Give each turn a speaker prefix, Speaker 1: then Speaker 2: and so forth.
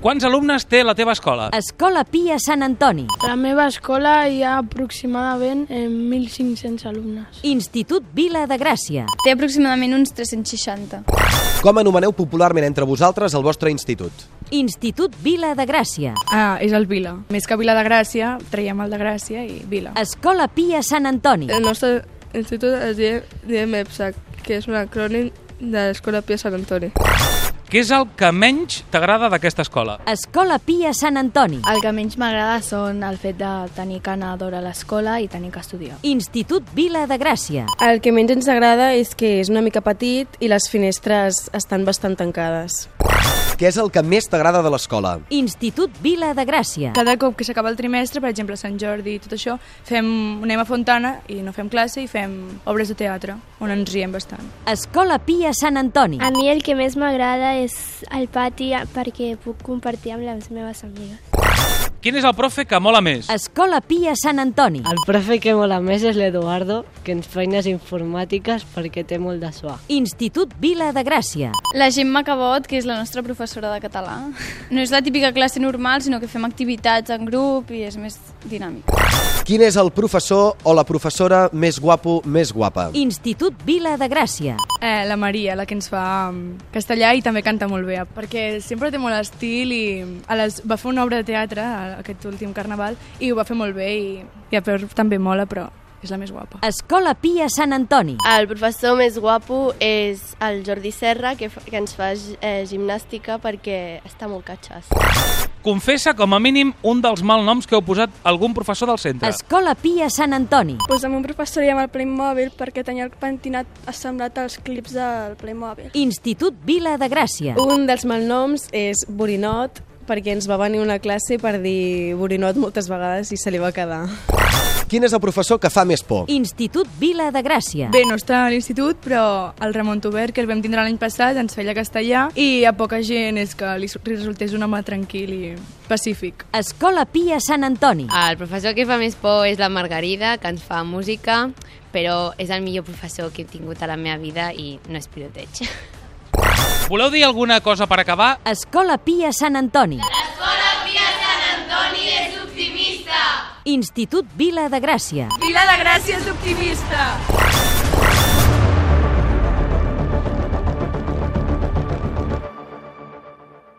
Speaker 1: Quants alumnes té la teva escola?
Speaker 2: Escola Pia Sant Antoni.
Speaker 3: A la meva escola hi ha aproximadament eh, 1.500 alumnes.
Speaker 2: Institut Vila de Gràcia.
Speaker 4: Té aproximadament uns 360.
Speaker 5: Com anomeneu popularment entre vosaltres el vostre institut?
Speaker 2: Institut Vila de Gràcia.
Speaker 6: Ah, és el Vila. Més que Vila de Gràcia, traiem el de Gràcia i Vila.
Speaker 2: Escola Pia Sant Antoni.
Speaker 7: El nostre institut es diem, diem EPSAC, que és un acrònim de l'Escola Pia Sant Antoni.
Speaker 1: Què és el que menys t'agrada d'aquesta escola?
Speaker 2: Escola Pia Sant Antoni.
Speaker 8: El que menys m'agrada són el fet de tenir que anar d'hora a l'escola i tenir que estudiar.
Speaker 2: Institut Vila de Gràcia.
Speaker 9: El que menys ens agrada és que és una mica petit i les finestres estan bastant tancades.
Speaker 5: Què és el que més t'agrada de l'escola?
Speaker 2: Institut Vila de Gràcia.
Speaker 6: Cada cop que s'acaba el trimestre, per exemple, Sant Jordi i tot això, fem, anem a Fontana i no fem classe i fem obres de teatre, on ens riem bastant.
Speaker 2: Escola Pia Sant Antoni.
Speaker 3: A mi el que més m'agrada és el pati perquè puc compartir amb les meves amigues.
Speaker 1: Quin és el profe que mola més?
Speaker 2: Escola Pia Sant Antoni.
Speaker 10: El profe que mola més és l'Eduardo, que ens feines informàtiques perquè té molt de suar.
Speaker 2: Institut Vila de Gràcia.
Speaker 4: La Gemma Cabot, que és la nostra professora de català. No és la típica classe normal, sinó que fem activitats en grup i és més dinàmic.
Speaker 5: Quin és el professor o la professora més guapo, més guapa?
Speaker 2: Institut Vila de Gràcia.
Speaker 6: Eh, la Maria, la que ens fa mm, castellà i també canta molt bé, perquè sempre té molt estil i a les, va fer una obra de teatre a- aquest últim carnaval i ho va fer molt bé i, i a peu també mola, però és la més guapa.
Speaker 2: Escola Pia Sant Antoni.
Speaker 8: El professor més guapo és el Jordi Serra, que, fa- que ens fa eh, gimnàstica perquè està molt catxàs.
Speaker 1: Confessa com a mínim un dels malnoms que heu posat a algun professor del centre.
Speaker 2: Escola Pia Sant Antoni.
Speaker 3: Pues amb un professor diem el Playmobil perquè tenia el pentinat assemblat als clips del Playmobil.
Speaker 2: Institut Vila de Gràcia.
Speaker 9: Un dels malnoms és Borinot, perquè ens va venir una classe per dir Borinot moltes vegades i se li va quedar.
Speaker 5: Quin és el professor que fa més por?
Speaker 2: Institut Vila de Gràcia.
Speaker 6: Bé, no està a l'institut, però el Ramon Tubert, que el vam tindre l'any passat, ens feia castellà i a poca gent és que li su- li resultés un home tranquil i pacífic.
Speaker 2: Escola Pia Sant Antoni.
Speaker 11: El professor que fa més por és la Margarida, que ens fa música, però és el millor professor que he tingut a la meva vida i no és piloteig.
Speaker 1: Voleu dir alguna cosa per acabar?
Speaker 2: Escola Pia Sant Antoni. Institut Vila de Gràcia.
Speaker 6: Vila de Gràcia és optimista!